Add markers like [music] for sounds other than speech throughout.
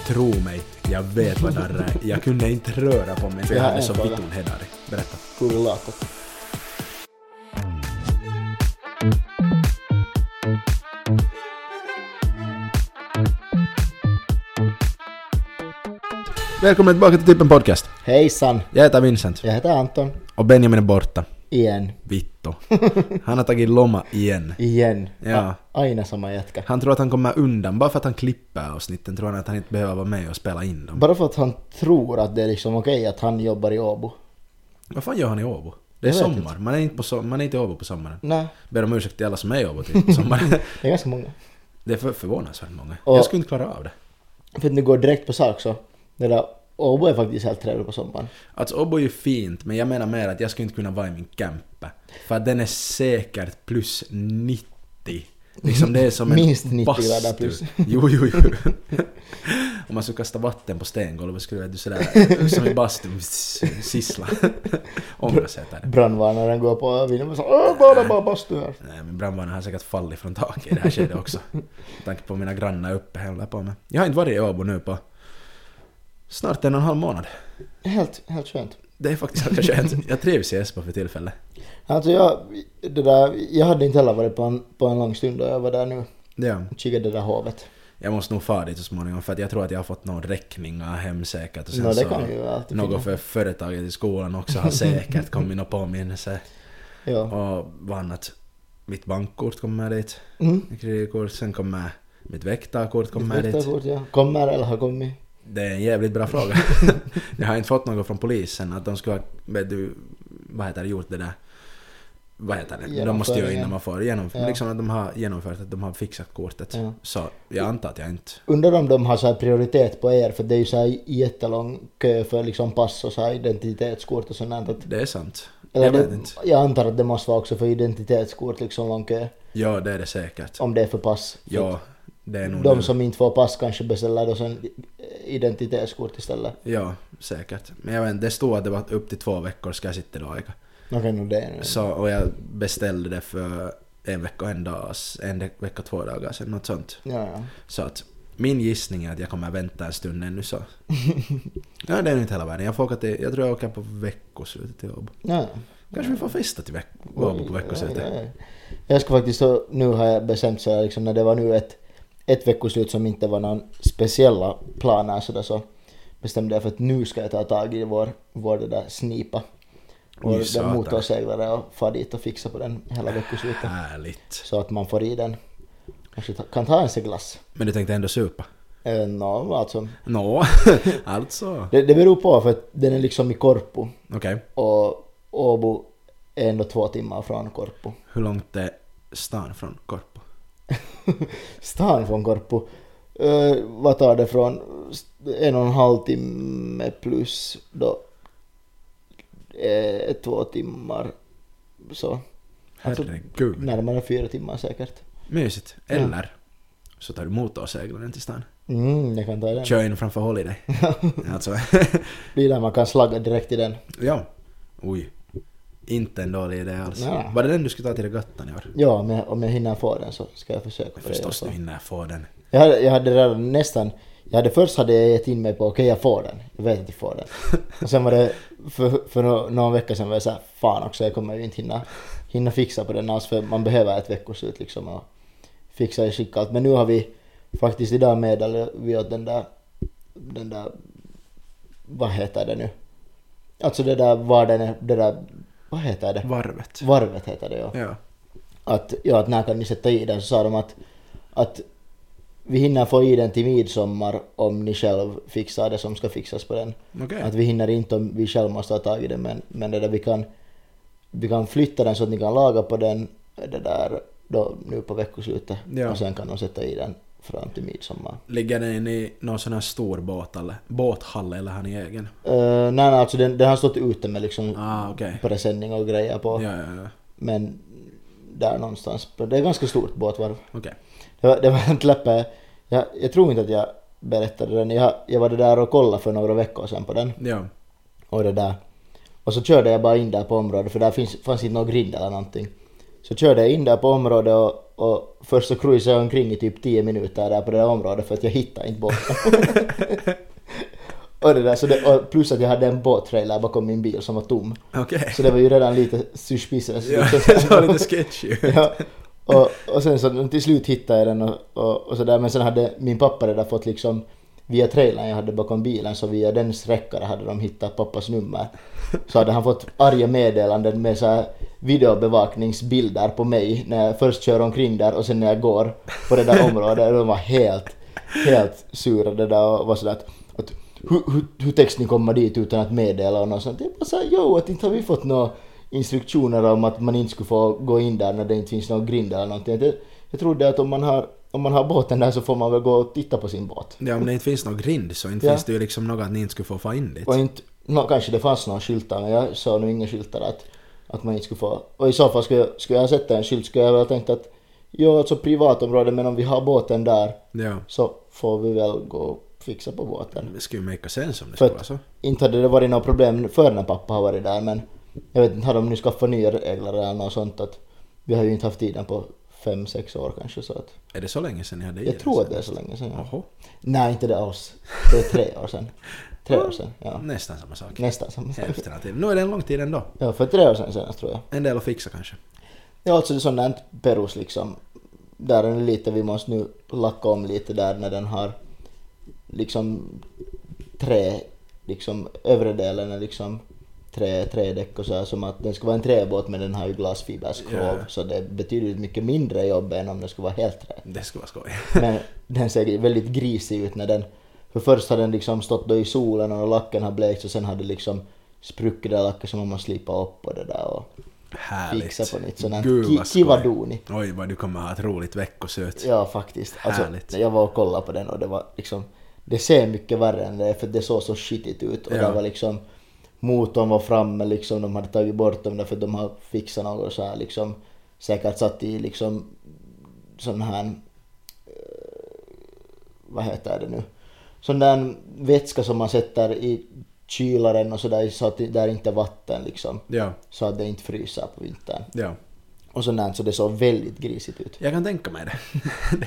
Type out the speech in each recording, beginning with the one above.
Tro mig, jag vet vad darr är. Jag kunde inte röra på mig för Jag jag har hade en så fråga. vitton hedare. Berätta. Kuululaakko. Välkommen tillbaka till Tippen Podcast. Hejsan! Jag heter Vincent. Jag heter Anton. Och Benjamin är borta. Igen. [laughs] Vitto. Han har tagit lomma igen. Igen. Ja. A- aina sama jätka. Han tror att han kommer undan bara för att han klipper avsnitten. Tror han att han inte behöver vara med och spela in dem. Bara för att han tror att det är liksom okej att han jobbar i Åbo. Vad fan gör han i Åbo? Det är Jag vet sommar. Man är, inte på som- man är inte i Åbo på sommaren. Nej, Ber om ursäkt till alla som är i Åbo till på sommaren. [laughs] det är ganska många. Det är för, förvånansvärt många. Och- Jag skulle inte klara av det. För att nu går direkt på sak så. Det där Åbo är faktiskt helt trevligt på sommaren. Alltså Åbo är ju fint, men jag menar mer att jag skulle inte kunna vara i min camper. För att den är säkert plus 90. Liksom det är som en Minst 90 bastu. grader plus. Jo, jo, jo. Om man skulle kasta vatten på stengolvet skulle du sådär som i bastun s- sissla. Ångersätare. Brandvarnaren går på vinden och så Åh, bara bara bastu här. Nej, min brandvarnare har säkert fallit från taket i det här skedet också. Med tanke på mina grannar uppe här håller på med. Jag har inte varit i Åbo nu på snart en och en halv månad. Helt, helt skönt. Det är faktiskt ganska skönt. Jag trivs i Esbo för tillfället. Alltså jag, det där, jag hade inte heller varit på en, på en lång stund och jag var där nu Ja. och kikade det där hovet. Jag måste nog fara dit så småningom för att jag tror att jag har fått någon räckning av hem säkert. Och sen Nå, det så kan ju alltid Något finnas. för företaget i skolan också har säkert kommit någon påminnelse. Ja. Och vad annat? Mitt bankkort kommer dit. Mm. Mitt kreditkort. Sen kommer mitt väktarkort kommer Mitt dit. kort, ja. Kommer eller har kommit. Det är en jävligt bra [laughs] fråga. jag har inte fått något från polisen att de ska ha, vet du, vad heter det, gjort det där. Vad heter det? De måste ju Genomföringen. innan man får genomföra. Ja. Liksom att de har genomfört, att de har fixat kortet. Ja. Så jag antar att jag inte Undrar om de har så här prioritet på er för det är ju så här jättelång kö för liksom pass och så här identitetskort och sånt där. Att- Det är sant. Eller jag vet det, inte. jag antar att det måste vara också för identitetskort liksom lång kö. Ja, det är det säkert. Om det är för pass. Ja, det är nog De nu. som inte får pass kanske beställer då sen identitetskort istället. Ja, säkert. Men jag vet inte, det stod att det var upp till två veckor ska jag sitta då. Eka. Okej, nu det är nu. Så, och jag beställde det för en vecka och en dag, en vecka och två dagar sedan, något sånt. Ja, ja. Så att min gissning är att jag kommer vänta en stund ännu [laughs] så. ja, det är nog inte hela världen. Jag, får åka till, jag tror jag åker på veckoslutet till Åbo. ja. ja. Kanske vi får festa till veck- Åbo på Ja, veckoslutet. ja, ja. Jag ska faktiskt så, nu har jag bestämt så här, liksom när det var nu ett, ett veckoslut som inte var någon speciella planer så där så bestämde jag för att nu ska jag ta tag i vår, vår det där snipa. Oj, Vår den satan. motorseglare och far dit och fixa på den hela veckoslutet. Härligt. Så att man får i den. Kanske ta, kan ta en seglass. Men du tänkte ändå supa? Eh, nå, alltså. [laughs] Nå, alltså. Det, det beror på för att den är liksom i Korpo Okej. och Åbo är ändå två timmar från Korpo. Hur långt är stan från Korpo? [laughs] Stan från Korpu. Eh, vad tar det från en och en halv timme plus då eh, två timmar så. Alltså, Herregud. Närmare fyra timmar säkert. Mysigt. Eller så tar du motorseglaren till stan. Mm, jag kan ta den. Kör in framför Holiday. [laughs] alltså, Det är där man kan slagga direkt i den. ja. Oj. Inte en dålig idé alls. Nej. Var det den du skulle ta till regattan i år? Ja, om jag, om jag hinner få den så ska jag försöka. på det Förstås också. du hinner få den. Jag hade, jag hade redan nästan, jag hade först hade jag gett in mig på okej jag får den, jag vet att jag får den. Och sen var det, för, för nå- någon vecka sedan var jag såhär, fan också jag kommer ju inte hinna, hinna fixa på den alls för man behöver ett veckoslut liksom och fixa i skick allt. Men nu har vi faktiskt idag meddelade vi åt den där, den där, vad heter det nu? Alltså det där, var den är, det där, vad heter det? Varvet. Varvet heter det ja Ja. att, ja, att när kan ni sätta i den? Så sa de att, att vi hinner få i den till midsommar om ni själv fixar det som ska fixas på den. Okej. Att vi hinner inte om vi själv måste ha tag i den men, men det där vi kan, vi kan flytta den så att ni kan laga på den det där då, nu på veckoslutet Ja. och sen kan de sätta i den fram till midsommar. Ligger den i någon sån här stor båt eller? Båthall eller har ni egen? Uh, nej, nej, alltså den, den har stått ute med liksom Ah, okej. presenning och grejer på Ja, ja, ja. men där någonstans. Det är ganska stort båtvarv. Okej. Det var, det var en läppe. Jag, jag tror inte att jag berättade den. Jag, jag var där och kollade för några veckor sedan på den. Ja. Och det där. Och så körde jag bara in där på området för där finns, fanns inte någon grind eller någonting. Så körde jag in där på området och, Och först så cruisade jag omkring i typ 10 minuter där på det där området för att jag hittade inte båten. [laughs] och det där, så det, och plus att jag hade en båttrailer bakom min bil som var tom. Okej. Så det var ju redan lite suspicious. [laughs] Ja, [laughs] det var lite sketchy. Ja. Och, och sen så till slut hittade jag den och, och, och sådär. Men sen hade min pappa redan fått liksom via trailern jag hade bakom bilen så via den sträckare hade de hittat pappas nummer. Så hade han fått arga meddelanden med så här videobevakningsbilder på mig när jag först kör omkring där och sen när jag går på det där området. Och de var helt, helt sura det där och var sådär att, att hur, hur, hur täcks ni komma dit utan att meddela och något sånt? Det är bara såhär, jo att inte har vi fått några instruktioner om att man inte skulle få gå in där när det inte finns någon grind eller någonting. Det, jag trodde att om man, har, om man har båten där så får man väl gå och titta på sin båt. Ja, om det inte finns någon grind så inte Ja. finns det ju liksom något att ni inte skulle få få in dit. Och inte, nå, kanske det fanns några skyltar men jag såg nog inga skyltar att, att man inte skulle få. Och i så fall skulle jag, skulle jag sätta en skylt skulle jag väl ha tänkt att ja alltså privatområde men om vi har båten där Ja. så får vi väl gå och fixa på båten. Det skulle ju make sense om det För skulle att- alltså. vara så. Inte hade det varit några problem för när pappa har varit där men jag vet inte, har de nu skaffat nya regler eller något sånt att vi har ju inte haft tiden på fem sex år kanske så att Är det så länge sedan ni hade i jag det? liksom? tror att det är så länge sedan. ja. Jaha. Nej inte det alls. Det är tre år sedan. Tre år sedan, [laughs] ja. Nästan samma sak. Nästan samma sak. Hälften av tiden. Nu är det en lång tid ändå. Ja, för tre år sedan senast tror jag. En del att fixa kanske. Ja, alltså det är sånt där Perus liksom. Där är det lite, vi måste nu lacka om lite där när den har liksom tre, liksom övre delen är liksom tre, tre däck och så här, som att den ska vara en träbåt men den har ju glasfiberskrov Ja. så det betyder mycket mindre jobb än om den skulle vara helt trä. Det skulle vara skoj. [laughs] Men den ser väldigt grisig ut när den... För först har den liksom stått då i solen och lacken har blekt och sen har det liksom spruckit det lacket som man måste slipa upp och det där och Härligt. fixa på nytt. Sådant Gud, ki- vad skoj. kivadoni. Oj, vad du kommer ha ett roligt veckosöt. Ja, faktiskt. Alltså, Härligt. jag var och kollade på den och det var liksom... Det ser mycket värre än det är för det såg så skitigt ut och Ja. det var liksom... Motorn var framme liksom, de hade tagit bort dem därför att de har fixat något så här liksom... Säkert satt i liksom sån här... eh, Vad heter det nu? Sån där vätska som man sätter i kylaren och sådär så att det där inte är vatten liksom. Ja. Så att det inte fryser på vintern. ja. Och sånt där, så det såg väldigt grisigt ut. Jag kan tänka mig det.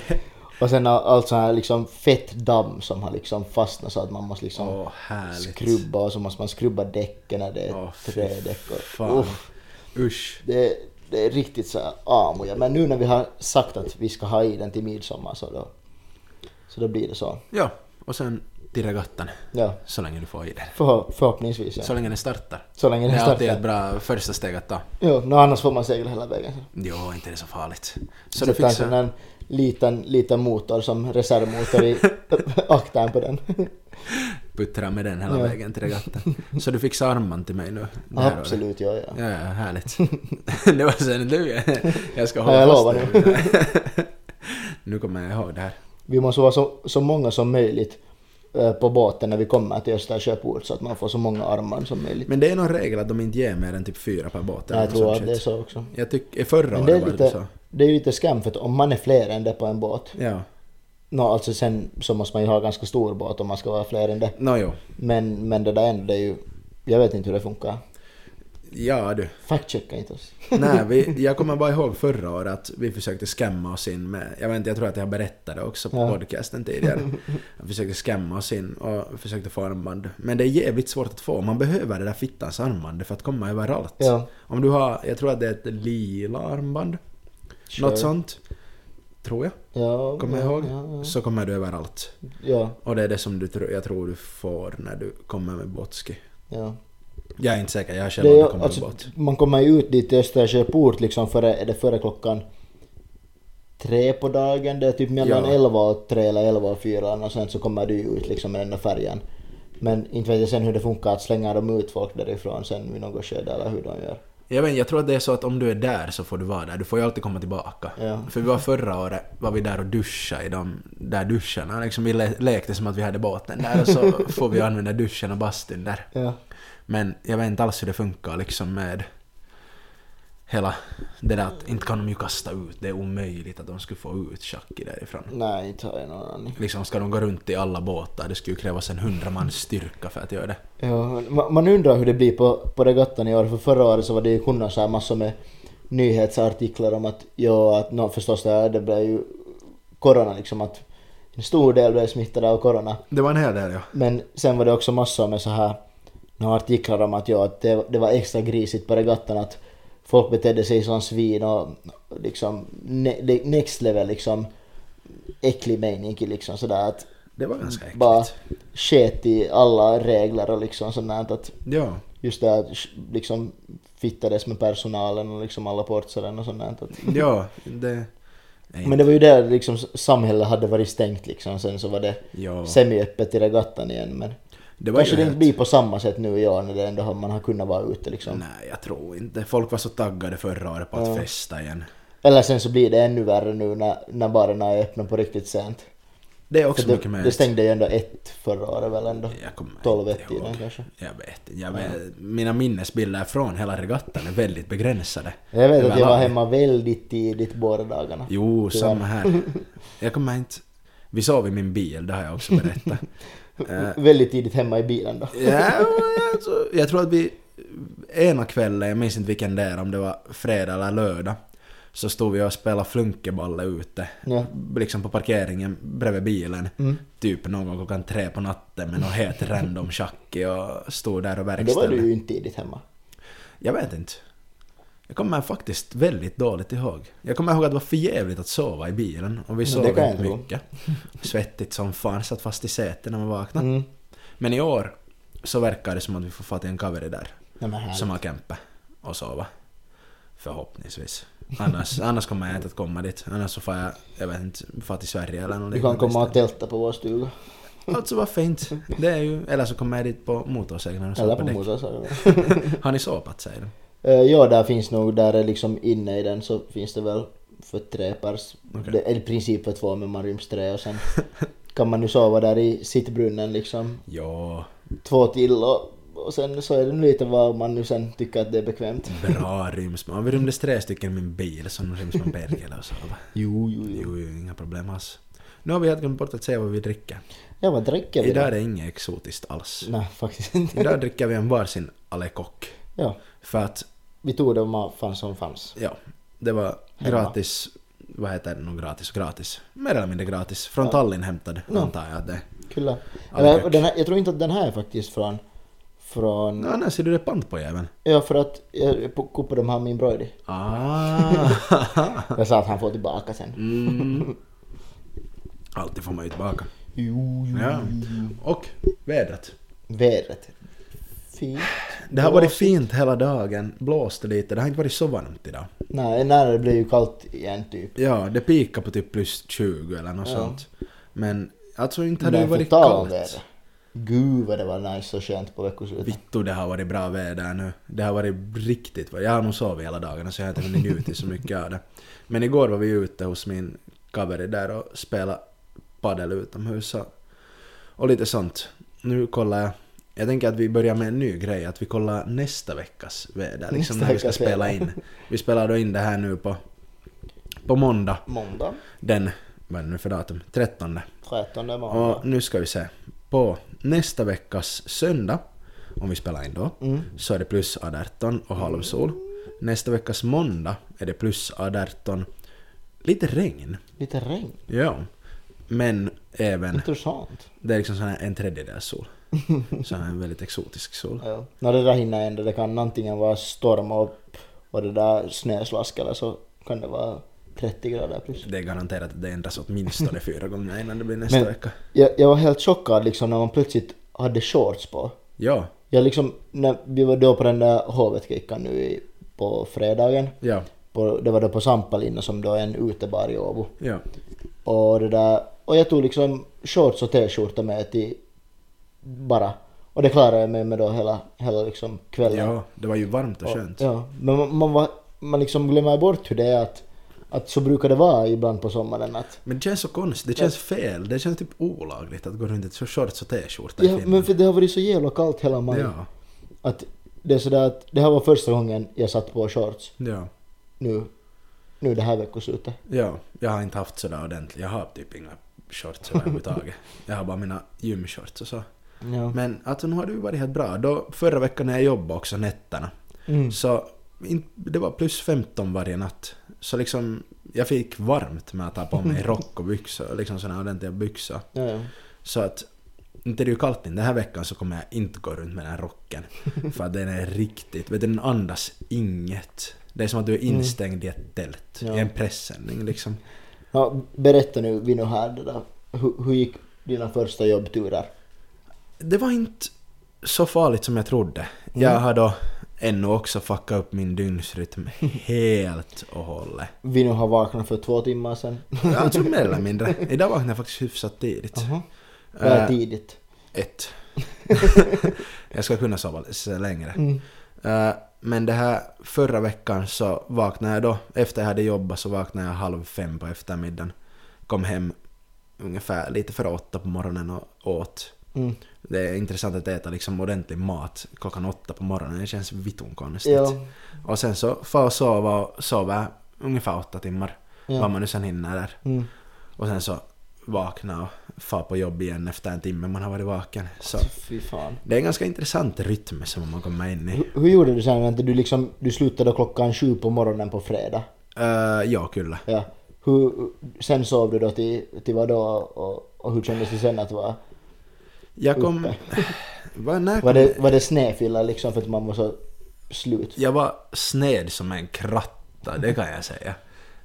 [laughs] det. Och sen all- allt sånt här liksom fett damm som har liksom fastnat så att man måste liksom Åh, härligt. skrubba och så måste man skrubba däcken när det är Åh, fy trädäck. och- Fan. Uff, Usch. det, är- det är riktigt så här amoja. Men nu när vi har sagt att vi ska ha i den till midsommar så då, så då blir det så. Ja, och sen till regattan. Ja, Så länge du får i den. för, förhoppningsvis Så ja. länge den startar. Så länge Det den är alltid startar. ett bra första steg att ta. Ja, nå, annars får man segla hela vägen. Jo, inte är det så farligt. Så Så du Sätta en sån fixar... där liten, liten motor som [laughs] reservmotor i aktern på den. Puttra med den hela Ja. vägen till regattan. Så du fixar arman till mig nu? Det här året. Absolut, ja, ja. Ja, ja, härligt. [laughs] det var sen du. Jag ska Ja, hålla jag fast lovar dig vid det. [laughs] nu kommer jag ihåg det här. Vi måste vara så, så många som möjligt eh, på båten när vi kommer till Östersjöport så att man får så många armar som möjligt. Men det är någon regel att de inte ger mer än typ fyra per båt. eller jag något tror sånt att det är shit. så också. Jag tycker, förra Men året det är var det så. lite, det är ju lite skam för att om man är fler än det på en båt, Ja. nå alltså sen så måste man ju ha ganska stor båt om man ska vara fler än det. Nå jo. Men, men det där ändå, det är ju, jag vet inte hur det funkar. Ja du. Factchecka inte oss. [laughs] Nej, vi, jag kommer bara ihåg förra året att vi försökte skämma oss in med... Jag vet inte, jag tror att jag berättade också på Ja. podcasten tidigare. Att vi försökte skämma oss in och försökte få armband. Men det är jävligt svårt att få. Man behöver det där fittans armbandet för att komma överallt. Ja. Om du har, jag tror att det är ett lila armband. Sure. Något sånt. Tror jag. Ja, Kommer jag ja, ihåg. Ja, Så kommer du överallt. ja, Och det är det som du, tror- jag tror du får när du kommer med båtski. ja. Jag är inte säker, jag har själv Det är, aldrig ju- kommit alltså, med båt. man kommer ju ut dit till Östersjöport liksom före, är det före klockan tre på dagen, det är typ mellan Ja. 11 och 3 eller 11 och 4 och sen så kommer du ju ut liksom med den där färjan. Men inte vet jag sen hur det funkar att slänga dem ut folk därifrån sen vid något skede eller hur de gör. Jag, vet, inte, jag tror att det är så att om du är där så får du vara där. Du får ju alltid komma tillbaka. Ja. För vi var förra året var vi där och duscha i de där duscharna. Liksom vi le- lekte som att vi hade båten där och [laughs] så får vi använda duschen och bastun där. Ja. Men jag vet inte alls hur det funkar liksom med hela det där att inte kan de ju kasta ut. Det är omöjligt att de skulle få ut Chucky därifrån. Nej, inte har jag någon aning. Liksom ska de gå runt i alla båtar, det skulle ju krävas en hundramans styrka för att göra det. Ja, ma- man undrar hur det blir på, på regattan i år, för förra året så var det ju kunnat så här massor med nyhetsartiklar om att, ja, att no, förstås det, här, det blev ju corona liksom att en stor del blev smittade av corona. Det var en hel del ja. Men sen var det också massor med så här några artiklar om att, ja, att det, det var extra grisigt på regattan att folk betedde sig som svin och liksom ne, det- next level liksom äcklig mening liksom sådär att Det var ganska äckligt. bara sket i alla regler och liksom sånt där, att Ja. just det att sh- liksom fittades med personalen och liksom alla portsaren och sånt där, att Ja, det... Nej. [laughs] Men det var ju där liksom samhället hade varit stängt liksom sen så var det ja. semiöppet i regattan igen men det ju kanske det inte helt- blir på samma sätt nu i år när det ändå har, man har kunnat vara ute liksom. Nej, jag tror inte. Folk var så taggade förra året på att Ja. festa igen. Eller sen så blir det ännu värre nu när, när barerna är öppna på riktigt sent. Det är För också det, mycket det möjligt. stängde ju ändå ett förra året väl ändå. Jag kommer Tolv inte ett tiden ihåg. kanske. Jag vet inte. Jag vet, Mina minnesbilder från hela regattan är väldigt begränsade. Jag vet att jag var Överlag. hemma väldigt tidigt båda dagarna. Jo, Tyvärr. samma här. Jag kommer inte... Vi sov i min bil, det har jag också berättat. [laughs] Eh, Väldigt tidigt hemma i bilen då. [laughs] ja, alltså, jag tror att vi ena kvällen, jag minns inte vilken det är, om det var fredag eller lördag, så stod vi och spelade flunkeballa ute, Ja. liksom på parkeringen bredvid bilen, Mm. typ någon gång klockan tre på natten med någon helt random tjacki och stod där och Det var verkställde. du ju inte tidigt hemma. Jag vet inte. Jag kommer faktiskt väldigt dåligt ihåg. Jag kommer ihåg att det var för jävligt att sova i bilen och vi Mm, det sov kan jag inte tro. [laughs] mycket. Svettigt som fan, satt fast i sätet när man vaknade. Mm. Men i år så verkar det som att vi får fatta en cover där Nej, men härligt. som har kämpat och sova. Förhoppningsvis. [laughs] Annars, annars kommer jag inte att komma dit. Annars så får jag, jag vet inte, far till Sverige eller något Du kan komma och ställe. tälta på vår stuga. Alltså varför inte? Det är ju, eller så kommer jag dit på motorseglaren och Eller sopar på däck. motorsågen. [laughs] Har ni sopat säger du? [laughs] Eh, Ja, där finns nog, där är liksom inne i den så finns det väl för tre pers. Okej. Det är i princip för två men man ryms tre och sen kan man ju sova där i sittbrunnen liksom. Ja, Två till och, och sen så är det lite vad man nu sen tycker att det är bekvämt. Mm. bra ryms man. Vi rymdes tre stycken i min bil så nu ryms man på Erkele och sova. Jo, jo, jo. Jo, jo, inga problem alls. Nu har vi helt glömt bort att säga vad vi dricker. Ja, vad dricker vi då? Idag är det inget exotiskt alls. Nej, faktiskt inte. [laughs] Idag dricker vi en varsin Alecoq. Ja, För att vi tog det man fanns som fanns. Ja, det var Hemma. gratis. Vad heter det nu gratis och gratis? Mer eller mindre gratis. Från Tallinn hämtade Ja. antar jag att det är. Kyllä. Ja, Eller, tack. den här, jag tror inte att den här är faktiskt från... Från... Nå, när ser du det pant på jäveln? Ja, för att jag kuppade dem här min broidi. Ah. Jag sa att han får tillbaka sen. [laughs] Mm. Alltid får man ju tillbaka. Jo, jo, Ja. Och vädret. Vädret. Fint. Det har varit Blåsigt. fint hela dagen. Blåste lite. Det har inte varit så varmt idag. Nej, när det blev ju kallt igen typ. Ja, det pikar på typ plus 20 eller något Ja. sånt. Men alltså inte har det ju Men för varit tal om kallt. vädret. Gud vad det var nice och skönt på veckoslutet. Vittu, det har varit bra väder nu. Det har varit riktigt bra. Jag har nog sovit hela dagarna så jag har inte hunnit njutit så mycket av det. Men igår var vi ute hos min kaveri där och spelade padel utomhus och, och lite sånt. Nu kollar jag. Jag tänker att vi börjar med en ny grej, att vi kollar nästa veckas väder. Liksom Nästa när vi ska veckas spela väder. in. Vi spelar då in det här nu på, på måndag Måndag, den, vad är det nu för datum? 13. 13 måndag. Och nu ska vi se. På nästa veckas söndag, om vi spelar in då, Mm. så är det plus 18 och halvsol. Nästa veckas måndag är det plus 18, lite regn. Lite regn. Ja. Men även, Intressant. det är liksom sån här en tredjedels [laughs] sol. Så här en väldigt exotisk sol. Ja. När det där hinner ändå, det kan antingen vara storm och, och det där snöslask eller så kan det vara 30 grader plus. Det är garanterat att det ändras åtminstone fyra gånger innan det blir nästa Men- vecka. Jag, jag var helt chockad liksom när man plötsligt hade shorts på. Ja, Jag liksom, när vi var då på den där hovetkickan nu i, på fredagen. ja, På, det var då på Sampalinna som då är en utebar i Åbo. ja. Och det där, och jag tog liksom shorts och t-skjorta med till bara. Och det klarade jag mig med då hela, hela liksom kvällen. Ja, det var ju varmt och skönt. Ja, men man, man, var, man liksom glömmer bort hur det är att, att så brukar det vara ibland på sommaren att Men det känns så konstigt, det känns fel, det känns typ olagligt att gå runt i så shorts och t-skjorta i Ja, men Finland. för det har varit så jävla kallt hela maj. Ja, Att det är sådär att det här var första gången jag satt på shorts ja, nu, nu det här veckoslutet. ja, jag har inte haft sådär ordentligt, jag har typ inga shorts [laughs] överhuvudtaget. jag har bara mina gymshorts och så. Ja. Men alltså nu har det ju varit helt bra. Då, förra veckan när jag jobbade också nätterna Mm. så in- det var plus 15 varje natt. Så liksom, jag fick varmt med att ha på [laughs] mig rock och byxor, liksom sådana ordentliga byxor. Ja, ja. Så att, inte är det ju kallt in. Den här veckan så kommer jag inte gå runt med den här rocken. [laughs] För att den är riktigt, vet du, den andas inget. Det är som att du är instängd i ett tält, Mm. Ja. i en pressändning liksom. Ja, berätta nu, vi nu här, det där. Hur, hur gick dina första jobbturer? Det var inte så farligt som jag trodde. Mm. Jag har då ännu också fuckat upp min [laughs] dygnsrytm helt och hållet. Vi nu har vaknat för två timmar sedan. Jag tror mer eller mindre. Idag vaknade jag faktiskt hyfsat tidigt. Jaha. Vad är Eh, tidigt? Ett. [laughs] jag ska kunna sova lite längre. Mm. Eh, men det här förra veckan så vaknade jag då, efter jag hade jobbat så vaknade jag halv fem på eftermiddagen. Kom hem ungefär lite före åtta på morgonen och åt. Mm. Det är intressant att äta liksom ordentlig mat klockan åtta på morgonen, det känns vitton konstigt. Ja, Och sen så får jag sova och sova ungefär åtta timmar. Ja. Vad man nu sen hinner där. mm. Och sen så vakna och far på jobb igen efter en timme man har varit vaken. Så fy fan. det är en ganska intressant rytm som man kommer in i. Hur, hur gjorde du sen? Vänta, Du, liksom, du slutade klockan sju på morgonen på fredag. Uh, ja, kulla. Ja. Hur, sen sov du då till, till vadå och, och hur kändes det sen att vara... Jag kom... [laughs] Vad, när Var kom det, var det snedfylla liksom för att man var så slut? Jag var sned som en kratta, det kan jag säga.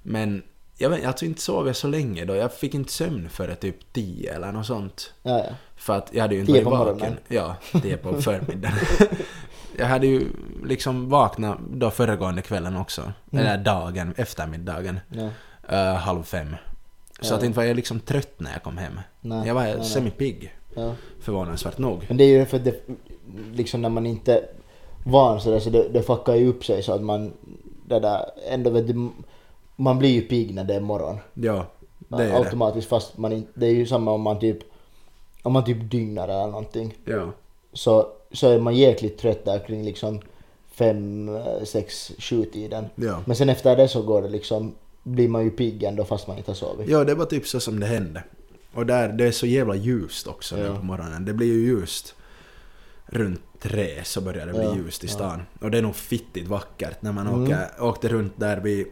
Men jag vet alltså inte sov jag så länge då. Jag fick inte sömn före typ 10 eller något sånt. Ja, ja. För att jag hade ju inte Tio varit på vaken. morgonen. Ja, tio på förmiddagen. [laughs] jag hade ju liksom vaknat då föregående kvällen också. Eller dagen, eftermiddagen. Mm. ja. eh, halv fem. Så att inte var jag liksom trött när jag kom hem. Nej, jag var nej, nej. semipigg. ja. Förvånansvärt nog. Men det är ju för att det, liksom när man inte är van sådär så det, det fuckar ju upp sig så att man, det där, ändå vet du, man blir ju pigg när det är morgon. Ja, det är det. automatiskt fast man inte, det är ju samma om man typ, om man typ dygnar eller någonting. Ja. Så, så är man jäkligt trött där kring liksom fem, eh, sex, sju tiden. Ja. Men sen efter det så går det liksom, blir man ju pigg ändå fast man inte har sovit. ja, det var typ så som det hände. Och där, det är så jävla ljust också nu Ja. på morgonen. Det blir ju ljust. Runt tre så börjar det bli Ja, Mm. ljust i stan. Och det är nog fittigt vackert när man åker, åkte runt där vid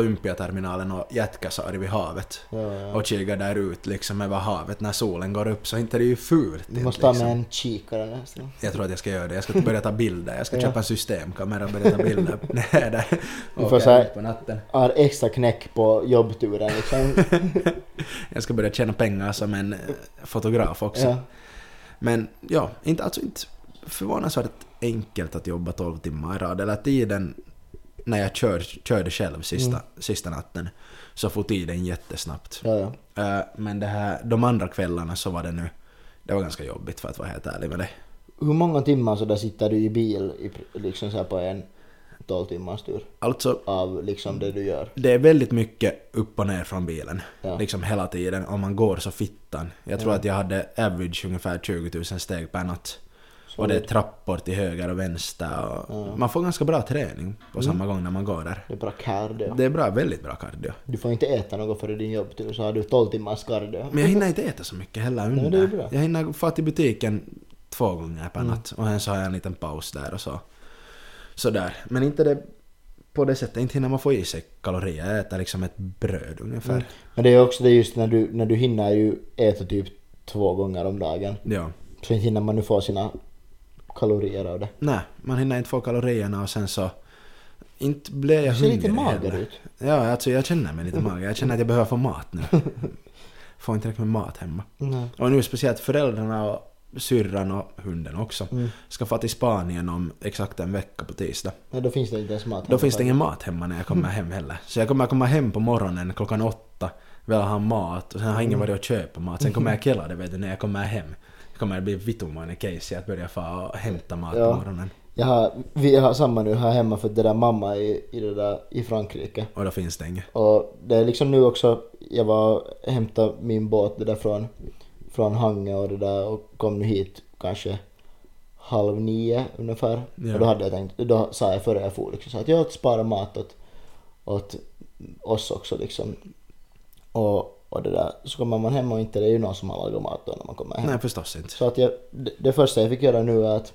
Olympiaterminalen och Jätkäsaari vid havet. Ja, ja. Och kikar där ut liksom över havet när solen går upp så inte det är ju fult. Du inte måste ha liksom. med en kikare nästan. Jag tror att jag ska göra det. Jag ska börja ta bilder. Jag ska [laughs] Ja. köpa en systemkamera och börja ta bilder. [laughs] Nej, där. får Åka så här- ut på natten. Har extra knäck på jobbturen liksom. [laughs] Jag ska börja tjäna pengar som en eh, fotograf också. ja. Men ja, inte, alltså inte förvånansvärt enkelt att jobba 12 timmar i rad. Eller tiden när jag kör, körde själv sista, sista natten så får tiden jättesnabbt. Mm. Ja, ja. Eh, Men det här, de andra kvällarna så var det nu, det var ganska jobbigt för att vara helt ärlig med det. Hur många timmar så där sitter du i bil i, pr- liksom så här på en 12 timmars tur Alltså av liksom det du gör? Det är väldigt mycket upp och ner från bilen. Ja. Liksom hela tiden. Om man går så fittan. Jag tror att jag hade average ungefär 20 000 steg per natt. Och det är trappor till höger och vänster. Och Man får ganska bra träning Mm. på samma gång när man går där. Det är bara cardio. Det är bra, väldigt bra cardio. Du får inte äta något före din jobbtur så har du 12 timmars cardio. Men jag hinner inte äta så mycket heller under. Mm. det är bra. Mm. Jag hinner få till butiken två gånger per natt och sen så har jag en liten paus där och så. Sådär. Men inte det på det sättet, inte hinner man få i sig kalorier. Jag äter liksom ett bröd ungefär. Men det är också det just när du, när du hinner ju äta typ två gånger om dagen. Ja. Så inte hinner man nu få sina kalorier av det. Nej, man hinner inte få kalorierna och sen så... Inte blev jag Du ser hungrig lite mager heller. ut. Ja, alltså jag känner mig lite mager. Jag känner att jag behöver få mat [laughs] nu. Får inte tillräckligt med mat hemma. Nej. Och nu speciellt föräldrarna och syrran och hunden också Mm. ska få till Spanien om exakt en vecka på tisdag. Nej, då finns det inte ens mat. Då finns det ingen mat hemma när jag kommer hem heller. Så jag kommer komma hem på morgonen klockan åtta, vill ha mat och sen har Mm. ingen varit och köpa mat. Sen [laughs] kommer jag killa det vet du när jag kommer hem. Det kommer bli vittumainen case att börja få hämta mat Ja. på morgonen. jag har, vi har samma nu här hemma för det där mamma i, i, det där, i Frankrike. Och då finns det inget. Och det är liksom nu också, jag var och hämtade min båt det där från, från Hange och det där och kom nu hit kanske halv nio ungefär. Ja. Och då hade jag tänkt, då sa jag före jag for liksom så att jag sparar mat åt, åt oss också liksom. Och, och det där, så kommer man hem och inte det är ju någon som har lagat mat då när man kommer hem. Nej, förstås inte. Så att jag, det, det första jag fick göra nu är att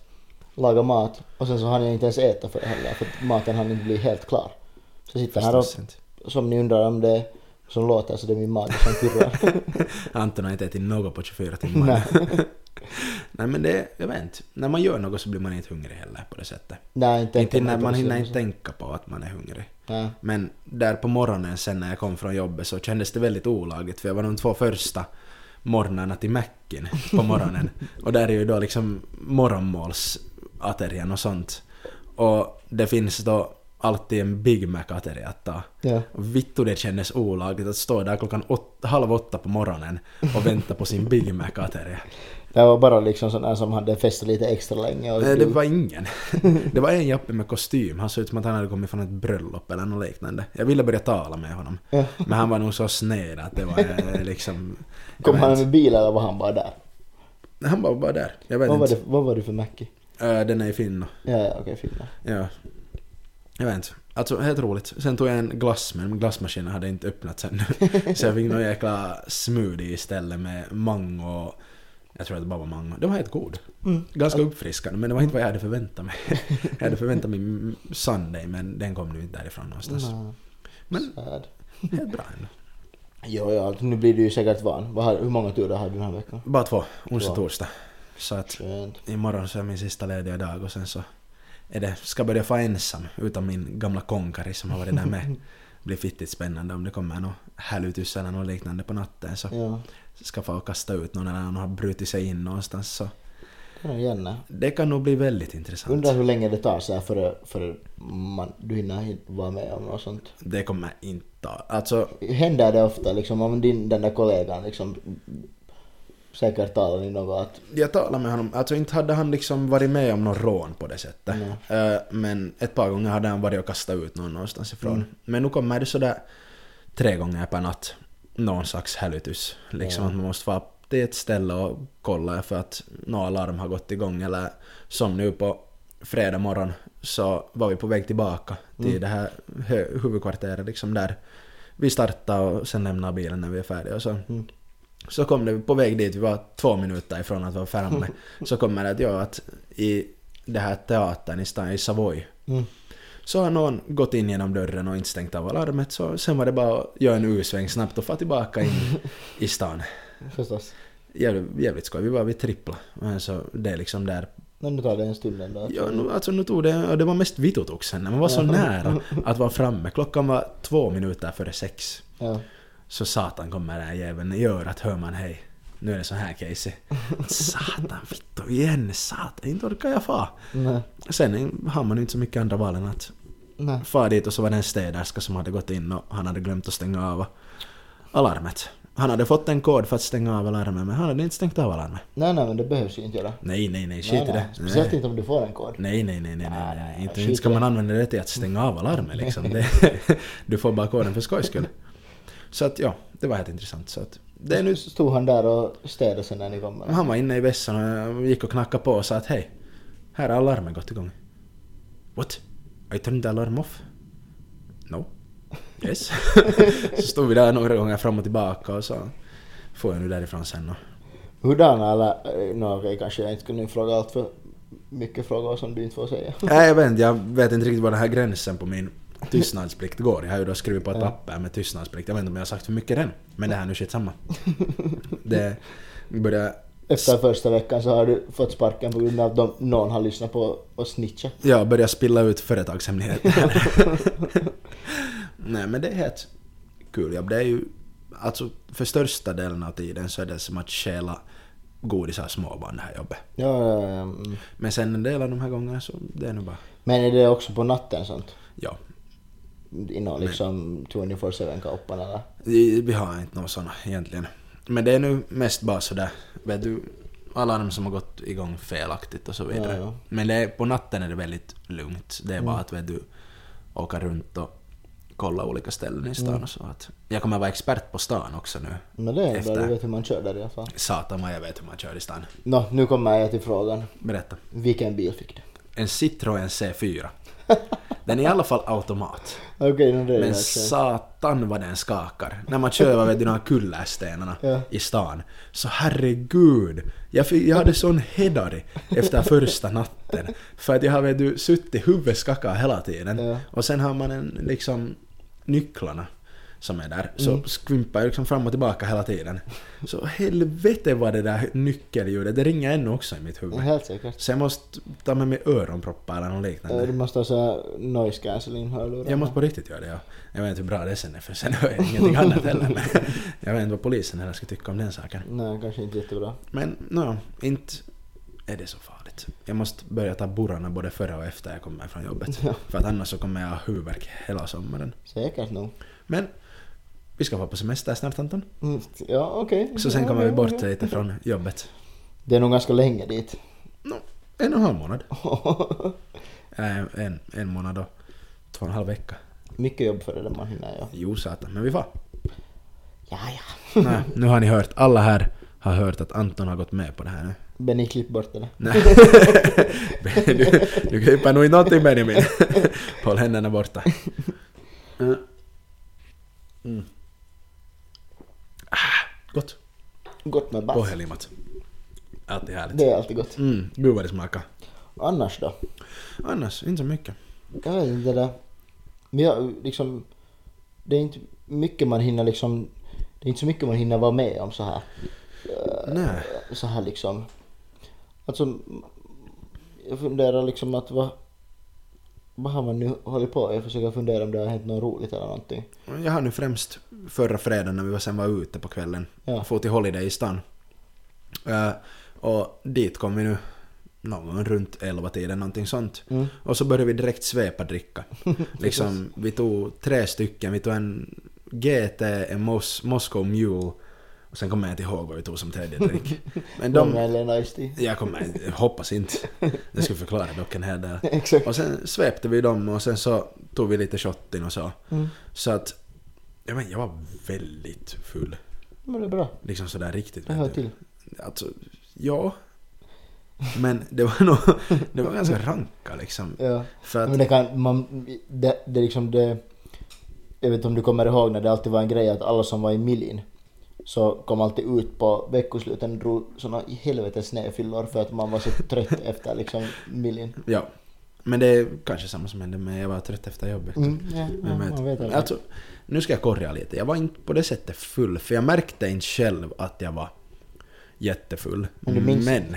lagar mat och sen så hann jag inte ens äta för det heller för att maten hann inte bli helt klar. Så jag sitter här Förstås inte. och som ni undrar om det som låter så det är min mage [laughs] som pirrar. [laughs] Anton har inte ätit något på 24 timmar. Nej. [laughs] Nej men det, jag vet inte. När man gör något så blir man inte hungrig heller på det sättet. Nej, inte inte äta när mat man också. hinner inte tänka på att man är hungrig. Nej. Men där på morgonen sen när jag kom från jobbet så kändes det väldigt olagligt för jag var de två första morgnarna till Macken på morgonen. och där är ju då liksom morgonmålsaterien och sånt. Och det finns då alltid en Big Mac-ateri att ta. Ja. Och Vittu det kändes olagligt att stå där klockan åt, halv åtta på morgonen och vänta på sin Big Mac-ateri. Det var bara liksom sådana som hade festat lite extra länge och Nej, Eh, det var ingen. [laughs] Det var en jappe med kostym. Han såg ut som att han hade kommit från ett bröllop eller något liknande. Jag ville börja tala med honom. Ja. Men han var nog så sned att det var eh, liksom... jag [laughs] Kom vet han inte. med bil eller var han bara där? Han var bara där. Jag vet Vad var, inte. det, vad var det för Mackie? Eh, Den är i Finland. Ja, ja okej, filmen. Ja. Jag vet inte. Alltså helt roligt. Sen tog jag en glass men glassmaskinen hade inte öppnats [laughs] ännu. Så jag fick någon jäkla smoothie istället med mango och... Jag tror att det bara var mango. Det var helt god. Mm, Ganska uppfriskande men det var inte vad jag hade förväntat [laughs] mig. Jag hade förväntat mig m- Sunday men den kom nu inte därifrån någonstans. Men Sad. [laughs] helt bra ändå. Jo, ja, nu blir du ju säkert van. Vad har, hur många turer har du den här veckan? Bara två. Onsdag Bra. och torsdag. Så att Skönt. imorgon så är min sista lediga dag och sen så är det, ska börja få ensam utan min gamla konkari som har varit där [laughs] med. blir fittigt spännande om det kommer någon hälutus eller något liknande på natten så Ja, ska få kasta ut någon eller någon har brutit sig in någonstans så det är nog Janne. det kan nog bli väldigt intressant. Undrar hur länge det tar så här före, före man, du hinner hin- vara med om något sånt. Det kommer inte ta- alltså Händer det ofta liksom om din, den där kollegan liksom säkert talar i något att jag talade med honom, alltså inte hade han liksom varit med om någon rån på det sättet. Eh, Men ett par gånger hade han varit och kastat ut någon någonstans ifrån. Men nu kommer det sådär tre gånger per natt någon slags hälytus. Liksom att man måste vara upp till ett ställe och kolla för att några alarm har gått igång. Eller som nu på fredag morgon så var vi på väg tillbaka till det här hö- huvudkvarteret liksom där vi startade och sen lämnade bilen när vi är färdiga och så. Så kom det på väg dit, vi var två minuter ifrån att vara framme. Så kommer det att jag att i det här teatern i stan, i Savoy. mm, Så har någon gått in genom dörren och inte stängt av alarmet. Så sen var det bara att göra en U-sväng snabbt och få tillbaka in i stan. förstås. Jävligt, jävligt skoj, vi var vid trippla. Men så det är liksom där Men nu tar det en stund ändå. Ja, nu, alltså nu tog det, det var mest vitotoxen, man var så nära att vara framme. Klockan var två minuter före sex. Ja. Så satan kommer den här jäveln i örat hör man hej. Nu är det så här case. Satan, vittu igen, satan, inte orkar jag fa. Nej. Sen har man ju inte så mycket andra valen att Nej. far dit och så var det en städerska som hade gått in och han hade glömt att stänga av alarmet. Han hade fått en kod för att stänga av alarmet men han hade inte stängt av alarmet. nej, nej, men det behövs ju inte göra. Nej, nej, nej, Nej, skit i nej. det. Nej. Speciellt inte om du får en kod. Nej, nej, nej, nej, nej, nej, nej. Inte, skit inte ska i det. man använda det till att stänga av alarmet liksom. Det, [laughs] du får bara koden för skojs skull. Så att ja, det var helt intressant. Så att, det är nu, Stod han där och städade sen när ni kom? eller? han var inne i vässan och gick och knackade på och sa att hej, här har alarmen gått igång. What? I turned the alarm off? No. Yes. [laughs] så stod vi där några gånger fram och tillbaka och så får jag nu därifrån sen och Hurdana eller, eh, nå okej kanske jag inte ska nu fråga allt för mycket frågor som du inte får säga. Nej, jag vet inte. Jag vet inte riktigt var den här gränsen på min tystnadsplikt går. Jag har ju då skrivit på ett papper med tystnadsplikt. Jag vet inte om jag har sagt för mycket än. Men det här nu skit samma. [laughs] Det börjar... Efter första veckan så har du fått sparken på grund av att de- någon har lyssnat på och snitchat. Jag börjar spilla ut företagshemligheter. Nej men det är helt kul jobb. Det är ju... Alltså för största delen av tiden så är det som att stjäla godis av småbarn det här jobbet. Ja, ja, ja, mm. Men sen en del av de här gångerna så det är nog bara... Men är det också på natten sånt? Ja. Inom liksom 24-7 kaupan eller? Vi vi har inte några såna egentligen. Men det är nu mest bara sådär, vet du, alarm som har gått igång felaktigt och så vidare. Ja, Mm. ja. Men det är, på natten är det väldigt lugnt. Det är bara att vet du, åka runt och kolla olika ställen i stan och så. Att, jag kommer vara expert på stan också nu. Mm. Men det är bra, Efter. du vet hur man kör där i alla fall. Satan vad jag vet hur man kör i stan. Nå, nu kommer jag till frågan. Berätta. Vilken bil fick du? En Citroën C4. [laughs] Den är i alla fall automat. Okej, nu det är Men det också. satan vad den skakar. När man kör över de här kullerstenarna Ja. i stan. Så herregud. Jag, fick, jag hade sån hedari efter första natten. natten. För att jag har vet du, suttit huvudet skakar hela tiden. Ja. Och sen har man en, liksom nycklarna som är där. Så Mm. skvimpar jag liksom fram och tillbaka hela tiden. Så helvete vad det där nyckelljudet, det ringer ännu också i mitt huvud. Ja, Helt säkert. Så jag måste ta med mig öronproppar eller något Eh, Du liknande. måste ha såhär noise cancelling-hörlurar. Jag måste på riktigt göra det ja. Jag vet inte hur bra det sen är för sen hör jag ingenting annat heller. Men jag vet inte vad polisen heller skulle tycka om den saken. Nej, kanske inte jättebra. Men nå, inte är det så farligt. Jag måste börja ta burrarna både före och efter jag kommer från jobbet. För att annars så kommer jag ha huvudvärk hela sommaren. Säkert nog. Men vi ska vara på semester snart Anton. Mm. Ja, okej. Så sen Ja, kommer vi ja, bort ja. lite från jobbet. Det är nog ganska länge dit. [laughs] Nå, en och en halv månad. Äh, en, en månad och två och en halv vecka. Mycket jobb för det där man hinner ja. Jo satan, men vi [laughs] får. Ja, ja. Nej, nu har ni hört. Alla här har hört att Anton har gått med på det här nu. [laughs] Benny, klipp bort det där. [laughs] Nej. du, du klipper nog inte någonting [laughs] Benjamin. Håll händerna borta. Mm. Ah, gott. Gott med bass. Pohjalimat. Alltid härligt. Det är alltid gott. Mm, gud vad det smakar. Annars då? Annars, inte så mycket. Jag vet inte det där. Men jag, liksom, det är inte mycket man hinner liksom... Det är inte så mycket man hinner vara med om så här. Nej. Så här liksom. Alltså, jag funderar liksom att vad... Vad har man nu hållit på med? Jag försöker fundera om det har hänt något roligt eller någonting. Jag har nu främst förra fredagen när vi var- sen var ute på kvällen. Ja. Få till Holiday i stan. Eh, och dit kom vi nu någon gång runt 11-tiden, någonting sånt. Mm. Och så började vi direkt svepa [laughs] dricka. liksom, vi tog tre stycken, vi tog en GT, en Mos- Moscow Mule och sen kommer jag inte ihåg vad vi tog som tredje [laughs] drink. Men De... de... Eller en Ice-Tea. Jag kommer jag hoppas inte. Det skulle förklara dock en hel del. [laughs] Exakt. Och sen svepte vi dem och sen så tog vi lite shotting och så. Mm. Så att... Jag, men, jag var väldigt full. Men det är bra. Liksom sådär riktigt. Det vet hör du. till. Alltså, ja. Men det var nog... Det var ganska ranka liksom. Ja. För Men att... det kan, man, det, det är liksom det, jag vet inte om du kommer ihåg när det alltid var en grej att alla som var i Milin så kom alltid ut på veckosluten och drog såna i helvetes snöfyllor för att man var så trött [laughs] efter liksom Milin. Ja. Men det är kanske samma som hände med jag var trött efter jobbet. Mm, ja, Vem ja, man vet aldrig. alltså, nu ska jag korra lite. Jag var inte på det sättet full, för jag märkte inte själv att jag var jättefull. Men du minns. Men,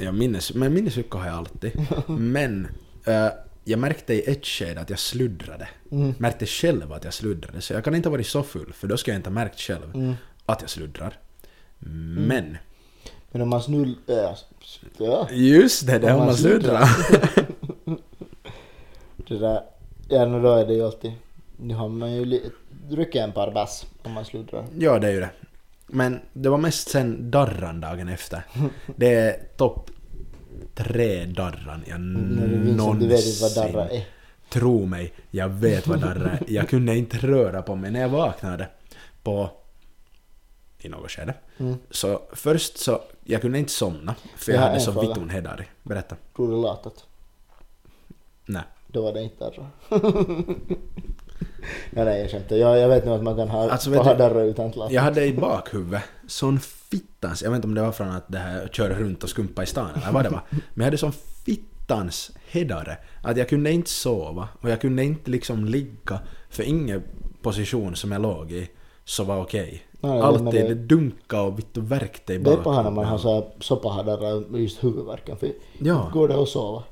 jag minnes, men minnesucka har jag [laughs] alltid. Men eh, jag märkte i ett skede att jag sluddrade. Mm. Märkte själv att jag sluddrade, så jag kan inte ha varit så full, för då ska jag inte ha märkt själv Mm. att jag sluddrar. Men, Men om man äh, snurrar... Ja, ja, just det, det Om har man man sluddrat. det där, ja nu då är det ju alltid, nu har man ju li- druckit en par bass om man sluddrar. Ja, det är ju det. Men det var mest sen darran dagen [laughs] efter. Det är topp tre darran jag När du minns att någonsin... du vet inte vad darra är. Tro mig, jag vet vad darra är. Jag kunde inte röra på mig när jag vaknade på... I något skede. Så först så... Jag kunde inte somna, för jag Mm. Jag har hade en så fråga. vitun hedari. Berätta. Tror du latat? Nej. Då var det inte [laughs] darra. nej, nej, jag skämtar. Jag, jag vet nog att man kan ha, Alltså, alltså, vet ha du- darra utan att Jag lata. hade i bakhuvudet sån fittans, jag vet inte om det var från att det här köra runt och skumpa i stan eller vad [laughs] det var. Men jag hade sån fittans hedare att jag kunde inte sova och jag kunde inte liksom ligga för ingen position som jag låg i så var okej. Nej, men Alltid det- det dunka och vitt och värkte i Det är bara när man bakhuvudet. har så, här, så paha darra med just huvudvärken. För Ja. går det att sova?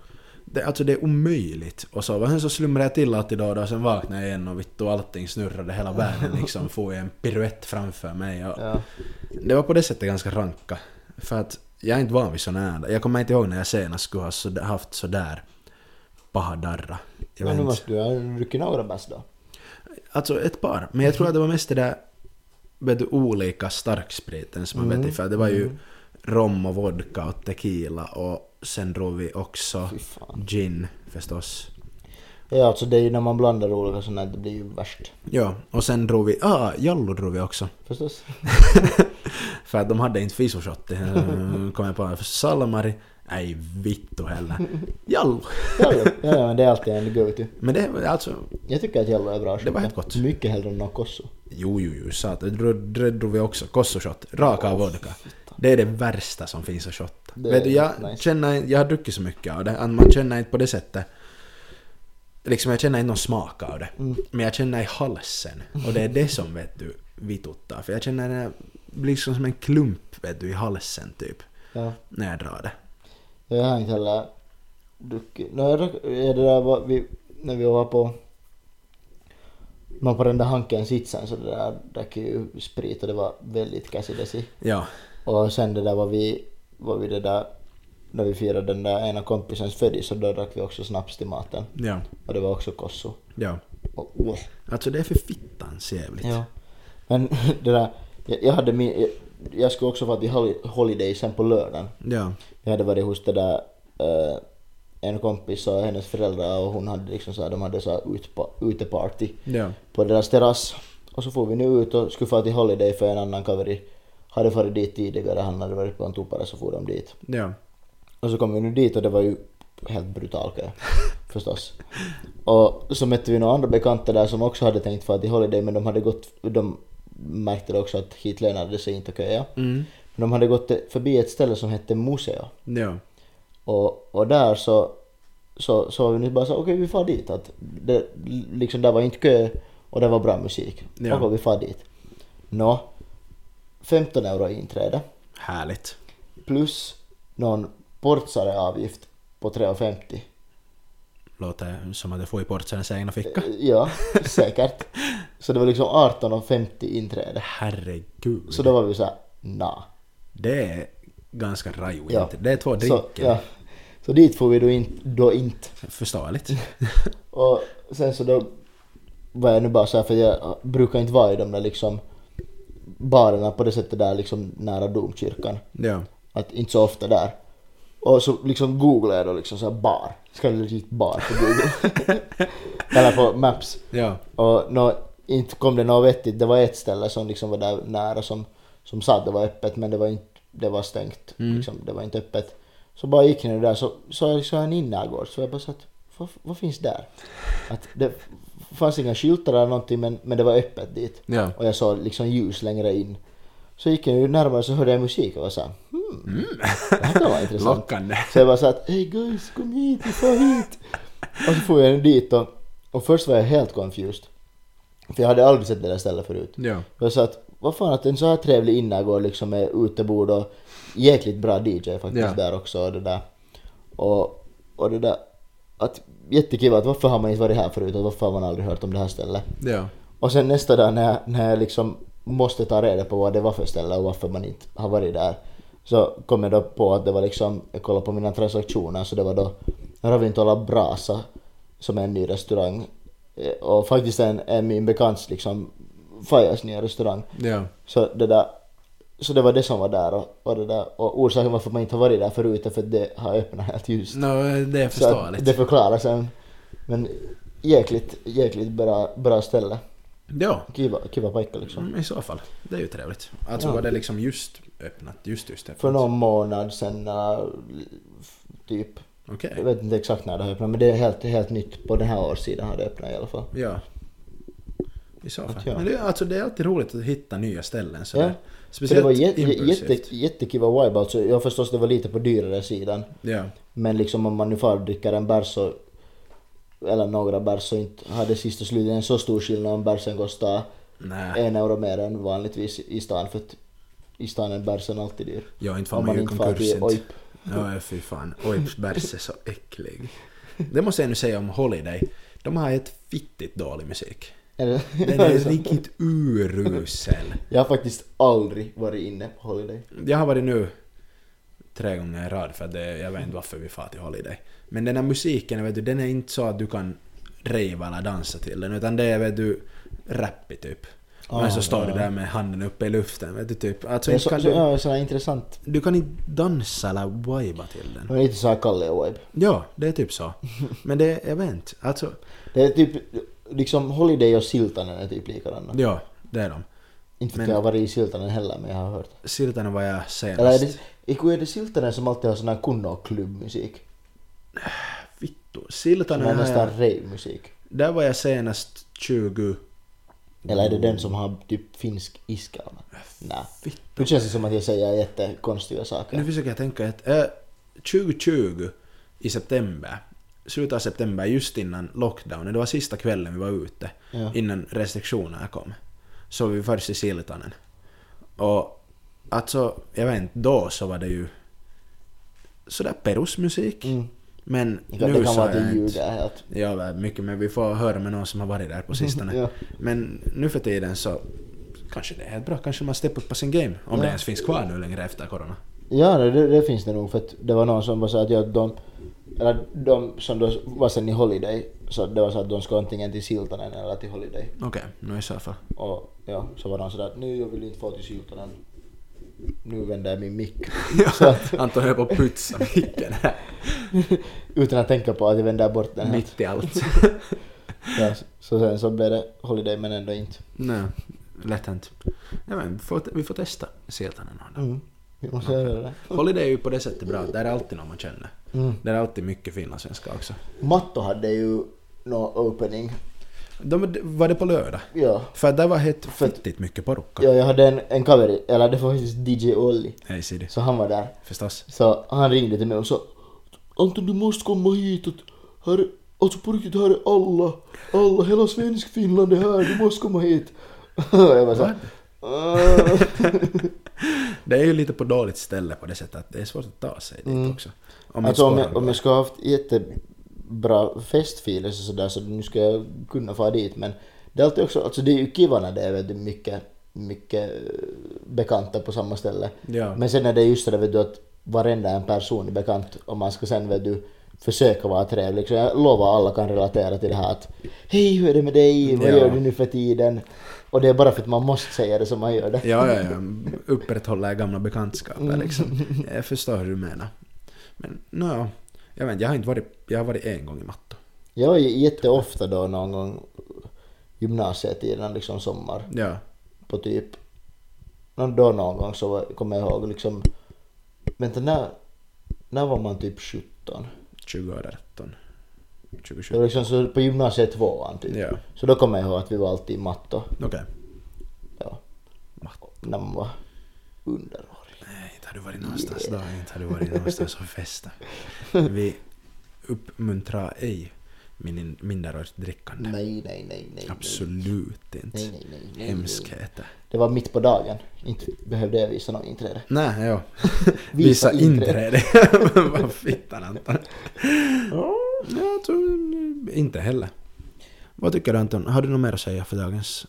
det, alltså det är omöjligt att sova. Sen så slumrade jag till alltid då och då, sen vaknade jag igen och vittu allting snurrade hela [laughs] världen liksom. Får jag en piruett framför mig och Ja. Det var på det sättet ganska ranka. För att jag är inte van vid såna här. Jag kommer inte ihåg när jag senast skulle ha så- haft sådär paha darra. Jag vet Men nu inte. måste du ha druckit några bärs då. Alltså ett par. Men jag tror att det var mest det där vet du, olika starkspriten som man Mm. vet i, för det var ju rom och vodka och tequila och sen drog vi också Fy fan. gin förstås. Ja, alltså det är ju när man blandar olika sådana här, det blir ju värst. Ja, och sen drog vi, ah, jallo drog vi också. [laughs] Förstås? För att de hade inte fisoshot. eh, Kom jag på. För Salmari, nej vittu heller. Jallo! Ja, ja, ja, ja, men det är alltid en go-to. Men det var alltså... Jag tycker att Jello är bra. Det var helt skit. gott. Mycket hellre än någon kosso. Jo, jo, jo, satan. Det drog vi också. Kossoshot. Raka vodka. Det är det värsta som finns att shotta. Det Vet du, är jag, nice. känner, jag har druckit så mycket av det att man känner inte på det sättet. Liksom jag känner inte någon smak av det. Mm. Men jag känner i halsen. Och det är det som vet du vituttar. För jag känner det här, liksom som en klump vet du, i halsen typ. Ja. När jag drar det. Jag har inte heller druckit. No, jag drack, ja, det där var vi, när vi var på man på den där hanken sitsen så det där drack ju sprit och det var väldigt käsidesi. Ja. Och sen det där var vi, var vi det där, när vi firade den där ena kompisens födelse så då drack vi också snaps till maten. Ja. Och det var också kosso. Ja. Och, wow. Alltså det är för fittans jävligt. Ja. Men [laughs] det där, jag, jag hade min, jag, jag skulle också vara till holi- Holiday sen på lördagen. Ja. Jag hade varit hos det där, eh, en kompis och hennes föräldrar och hon hade liksom så här, de hade så här utpa- uteparty Ja. på deras terrass. Och så får vi nu ut och skulle fara till Holiday för en annan kaveri hade farit dit tidigare, han hade varit på en tuppare så for de dit. Ja. Och så kom vi nu dit och det var ju helt brutal kö. [laughs] Förstås. Och så mötte vi några andra bekanta där som också hade tänkt fara till Holiday men de hade gått, de märkte också att hit lönade det sig inte att köa. Mm. Men de hade gått förbi ett ställe som hette Museo. Ja. Och, och där så så så vi nu bara så okej vi far dit att det liksom där var inte kö och det var bra musik. Ja. Okej vi far dit. Nå, 15 euro i inträde Härligt. plus någon portsare avgift på 3,50. Låter som att det får i portsarens egna ficka. Ja, säkert. Så det var liksom 18,50 inträde. Herregud. Så då var vi så här, nah. Det är ganska rajigt. Ja. Det är två Så, drinkar. ja. så dit får vi då, in, då inte. [laughs] Förståeligt. Och sen så då var jag nu bara så här för jag brukar inte vara i de där liksom barerna på det sättet där liksom nära domkyrkan. ja. Att inte så ofta där. Och så liksom googlade jag då liksom så här bar. Ska jag legit bar på google. Eller på maps. Ja. Och nå, inte kom det något vettigt. Det var ett ställe som liksom var där nära som, som sa att det var öppet men det var, inte, det var stängt. Liksom, det var inte öppet. Så bara gick jag nu där så såg jag liksom en innergård så jag bara satt, vad, vad finns där? Att det f- fanns inga skyltar eller någonting men, men det var öppet dit. Ja. Och jag såg liksom ljus längre in. Så gick jag nu närmare så hörde jag musik och var såhär, hmm, det här kan vara intressant. Lockande. Så jag bara så att hej guys, kom hit, vi får hit. Och så får jag den dit och, och först var jag helt confused. För jag hade aldrig sett det där stället förut. Ja. Jag sa att vad fan att en så här trevlig innergård liksom med utebord och jäkligt bra DJ faktiskt Ja. där också och det där. Och, och det där att jättekul att varför har man inte varit här förut och varför har man aldrig hört om det här stället? Ja. Och sen nästa dag när jag, när jag liksom måste ta reda på vad det var för ställe och varför man inte har varit där. Så kom jag då på att det var liksom, jag kollade på mina transaktioner så det var då Ravintola Brasa som är en ny restaurang. Eh, Och faktiskt en, en min bekants liksom Fajas nya restaurang. Ja. Så det där, så det var det som var där och, och det där och orsaken varför man inte har varit där förut är för att det har öppnat helt ljust. No, det är Så att förståeligt. det förklarar sen. Men jäkligt, jäkligt bra, bra ställe. Ja. Kiva, kiva paikka liksom. Mm, I så fall. Det är ju trevligt. Alltså Ja. var det liksom just öppnat. Just just öppnat. För någon månad sen äh, f- typ. Okej. Jag vet inte exakt när det har öppnat men det är helt, helt nytt. På den här årsidan har det öppnat i alla fall. Ja. I så fall. Att göra. Men det, är- alltså, det är alltid roligt att hitta nya ställen. Så Ja. där. För det Speciellt var jä- jä- impulsivt. jätte, jättekiva vibe alltså. Jag förstås det var lite på dyrare sidan. Ja. Men liksom om man nu far dricker en bärs så eller några bärs så inte hade sist och slutligen så stor skillnad om bärsen kostar Nej. en euro mer än vanligtvis i stan för att i stan är bärsen alltid dyr. Ja, inte fan Om man man ju inte far konkurs till inte. OIP. Ja, fy fan. Oips bärs är så äcklig. Det måste jag nu säga om Holiday. De har ett fittigt dålig musik. Eller- Den [laughs] är riktigt urusel. Jag har faktiskt aldrig varit inne på Holiday. Jag har varit nu tre gånger i rad för att det, jag vet inte varför vi far till Holiday. Men den här musiken, vet du, den är inte så att du kan rejva eller dansa till den utan det är vet du rappig typ. Men så Ah, står du ja. där med handen uppe i luften vet du typ. Alltså, Det är inte så, kan så, du, ja, så här intressant. du kan inte dansa eller viba till den. Det är lite såhär Kalle-vibe. Ja, det är typ så. Men det, jag vet inte. Alltså, Det är typ, liksom Holiday och Siltanen är typ likadana. ja, det är de. Inte för men- att jag har varit i Siltanen heller men jag har hört. Siltanen var jag Eller är senast. det, Iku, är det Siltanen som alltid har sån här kunno klubbmusik? Vittu. Som är Siltanen har nästan jag... rave-musik. Där var jag senast 20... Eller är det den som har typ finsk iskalv? Nej. Nu känns det som att jag säger jättekonstiga Nu saker. försöker jag tänka att eh, 2020 i september, slutet av september, just innan lockdownen, det var sista kvällen vi var ute, Ja. innan restriktionerna kom, så var vi först i Siltanen. Och alltså, jag vet inte, då så var det ju sådär perusmusik. Mm. Men Ja, nu det kan så vara är att det är jag ljud inte... där helt. Ja, väl, mycket, men vi får höra med någon som har varit där på sistone. Ja. Men nu för tiden så kanske det är helt bra, kanske man steppar upp på sin game. Om det Ja. ens finns kvar nu längre efter corona. Ja, det- det, det finns det nog för att det var någon som bara sa att ja, de, eller de som då var sen i Holiday, så det var så att de ska antingen till Siltanen eller till Holiday. Okej, nu i så [laughs] fall. Och ja, så var de sådär att nu jag vill inte få till Siltanen. Nu vänder jag min mick. [laughs] Så Ja, att, Anton höll på att putsa micken här. [laughs] utan att tänka på att jag vänder bort den här. Mitt i allt. [laughs] Ja, så- så sen så blev det Holiday men ändå inte. Nej, lätt hänt. Nej, men vi får, vi får testa Siltanen någon dag. Vi måste göra det. Holiday är ju på det sättet bra, där är alltid någon man känner. Mm. Där är alltid mycket finlandssvenska också. Matto hade ju nå opening. De, var det på lördag? Ja. För där var helt För att- fittigt mycket porukka. ja, jag hade en, en cover, eller det var faktiskt DJ Olli. Hej Sidi. Så han var där. Förstås. Så han ringde till mig och sa Anton du måste komma hit att här är, alltså på riktigt här är alla, alla, hela svensk Finland är här, du måste komma hit. [laughs] Och jag bara "Ah." såhär, [laughs] Det är ju lite på dåligt ställe på det sättet att det är svårt att ta sig dit Mm. också. om inte alltså om jag, spåren om går. jag ska ha haft jättebra festfiler och sådär så nu ska jag kunna fara dit men det är alltid också, alltså det är ju kiva när det är väldigt mycket, mycket eh, bekanta på samma ställe. Ja. Men sen är det just det där vet du att varenda en person är bekant och man ska sen vet du försöka vara trevlig. Så jag lovar alla kan relatera till det här att Hej hur är det med dig? Vad Ja. gör du nu för tiden? Och det är bara för att man måste säga det som man gör det. Ja, ja, ja. Upprätthålla gamla Mm. bekantskaper liksom. Jag förstår hur du menar. Men nåja, jag vet inte, jag har inte varit, jag har varit en gång i Matto. Jag var ju jätteofta då någon gång gymnasietiden liksom sommar Ja. på typ någon då någon gång så var- kommer jag ihåg liksom Vänta när, när var man typ 17? 2013. Det var 2020. liksom så på gymnasiet tvåan typ. Ja. Så då kommer jag ihåg att vi var alltid i matto. Okej. Ja. Matto. när man var underårig. Nej, inte har du varit någonstans då. Inte har du varit någonstans och festat. Vi uppmuntrar ej min- minderårigt drickande. Nej, nej, nej, nej. Absolut Nej, inte. nej, nej, nej. nej. Hemskheter. Det var mitt på dagen. Inte behövde jag visa någon inträde. Nej, ja. Visa [laughs] Visa inträde. [laughs] Vad fittan Anton. Jag tror inte heller. Vad tycker du Anton? Har du något mer att säga för dagens?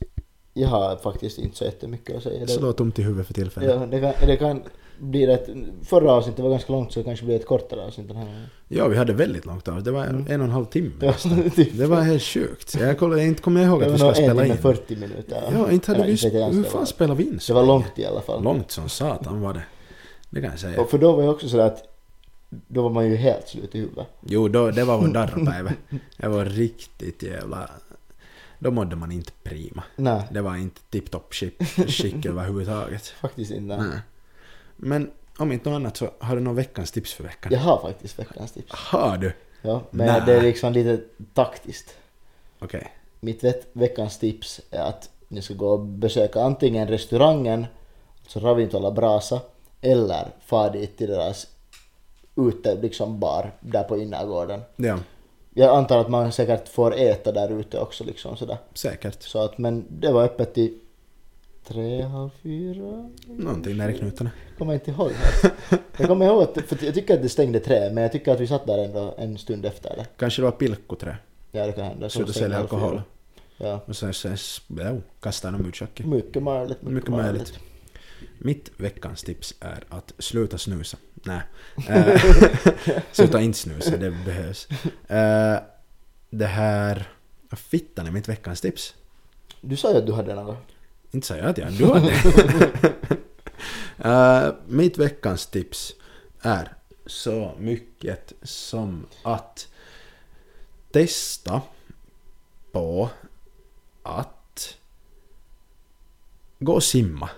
Jag har faktiskt inte så jättemycket att säga. Det, Slå tomt i huvudet för tillfället. ja, det, kan, det kan bli rätt... Förra avsnittet var ganska långt så det kanske blir ett kortare avsnitt den här gången. Ja, vi hade väldigt långt av. Det var en, en och en halv timme. Mm. Ja, typ. Det var helt sjukt. Jag kollade, inte kommer jag ihåg Det att vi var ska nog en spela timme in. 40 minuter. Ja, inte hade Eller, vi... vet jag ens Hur det fan var. spelade vi in? så Det var länge? långt i alla fall. Långt som satan var det. Det kan jag säga. Och för då var jag också sådär att... Då var man ju helt slut i huvudet. Jo, då, det var vår darrpäivä. Det var riktigt jävla... Då mådde man inte prima. Nej, Det var inte tipptopp skick skick överhuvudtaget. faktiskt inte. Nej. Men om inte något annat så har du någon veckans tips för veckan? Jag har faktiskt veckans tips. Har du? Ja, men Nä. det är liksom lite taktiskt. Okej. Mitt vet- veckans tips är att ni ska gå och besöka antingen restaurangen, alltså Ravintola Brasa, eller fara dit till deras ute, liksom bar där på innergården. Ja, Jag antar att man säkert får äta där ute också liksom sådär. säkert. Så att, men det var öppet till tre, halv fyra? Någonting där i knutarna. Kommer inte ihåg. helt. Jag kommer ihåg att, för jag tycker att det stängde tre, men jag tycker att vi satt där ändå en stund efter det. Kanske det var pilkkoträ. Ja, det kan hända. Sluta stängde sälja halv fyra. alkohol. Ja. Och sen, sen jo, kastade de ut köket. Mycket möjligt. Mycket möjligt. Mitt veckans tips är att sluta snusa. Nej. Eh, [laughs] sluta inte snusa, det behövs. Eh, det här... Fittan är mitt veckans tips. Du sa ju att du hade något. Inte säger jag att jag ändå har [laughs] det. Eh, mitt veckans tips är så mycket som att testa på att gå och [laughs] simma.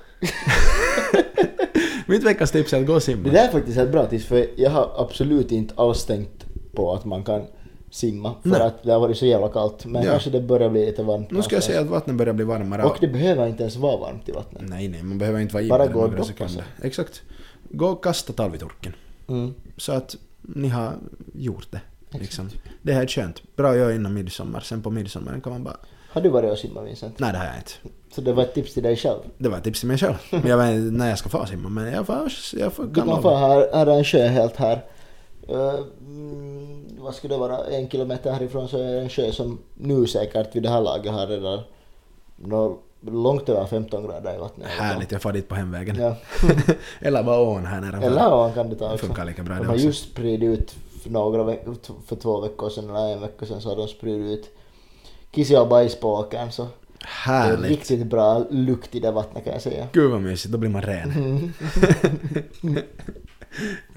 mitt veckans tips är att gå och Det simma. där är faktiskt ett bra tips för jag har absolut inte alls tänkt på att man kan simma för Nej. att det har varit så jävla kallt. Men Ja. kanske det börjar bli lite varmt Nu ska jag någonstans. säga att vattnet börjar bli varmare. Och det behöver inte ens vara varmt i vattnet. Nej, nej, man behöver inte vara Bara ivrare gå och några doppa sekunder. Exakt. Gå och kasta talvitorken. Mm. Så att ni har gjort det. Exakt. Liksom. Det här är skönt. Bra att göra innan midsommar. Sen på midsommar kan man bara... Har du varit och simmat Vincent? Nej, det har jag inte. Så det var ett tips till dig själv. Det var ett tips till mig [laughs] själv. Men Jag vet inte när jag ska få simma, men jag, får, jag får, Du kan kan få lova. här, här är en sjö helt här. Eh, mm, vad skulle det vara, en kilometer härifrån så är det en sjö som nu säkert vid det här laget har redan nå- långt över 15 grader i vattnet. Härligt, jag får dit på hemvägen. Ja. [laughs] Eller bara ån här nära. Eller vad kan du ta Det också. funkar lika bra De det har också. just spridit ut för, några veck- t- för två veckor sedan eller en vecka sedan så har de spridit ut kiss och bajs på åkern så det är Härligt. riktigt bra lukt i det vattnet kan jag säga. Mm. Gud vad mysigt, då blir man ren. [laughs]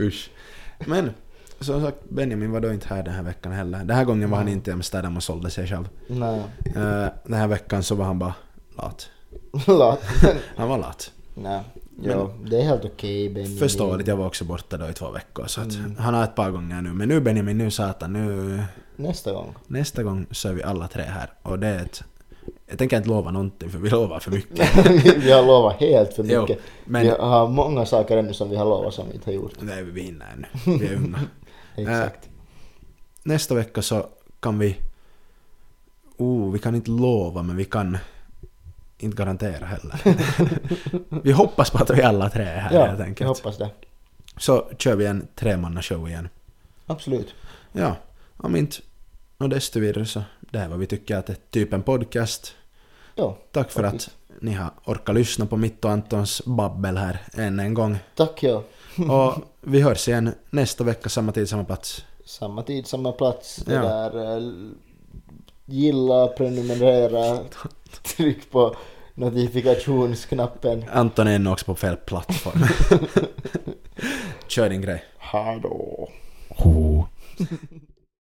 Usch. Men som sagt, Benjamin var då inte här den här veckan heller. Den här gången var han inte i Amsterdam och sålde sig själv. Nej, [laughs] Eh, den här veckan så var han bara lat. lat. Han var lat. Nej, jo, det är helt okej Benjamin. Förståeligt, jag var också borta då i två veckor. Så att Mm. han har ett par gånger nu. Men nu Benjamin, nu satan, nu... Nästa gång. [laughs] Nästa gång så är vi alla tre här. Och det är ett... Jag tänker inte lova någonting för vi lovar för [laughs] mycket. vi har lovat helt för Jo, mycket. men- Vi har många saker ännu som vi har lovat som vi inte har gjort. Nej, vi hinner ännu. Vi är unga. Eh, Exakt. nästa vecka så kan vi... Oh, vi kan inte lova men vi kan inte garantera [laughs] heller. vi hoppas på att vi alla tre är här ja, helt jag enkelt. hoppas det. Så kör vi en tremannashow igen. Absolut. Ja, om inte och desto vidare så det här var vi tycker att det är typ en podcast. Ja, Tack för att ni har orkat lyssna på mitt och Antons babbel här än en gång. tack ja. Och vi hörs igen nästa vecka samma tid, samma plats. Samma tid, samma plats. Det Ja. där, eh, gilla, [laughs] prenumerera, tryck på notifikationsknappen. Anton är ännu också på fel plattform. [laughs] Kör din grej. Hallå. Ho.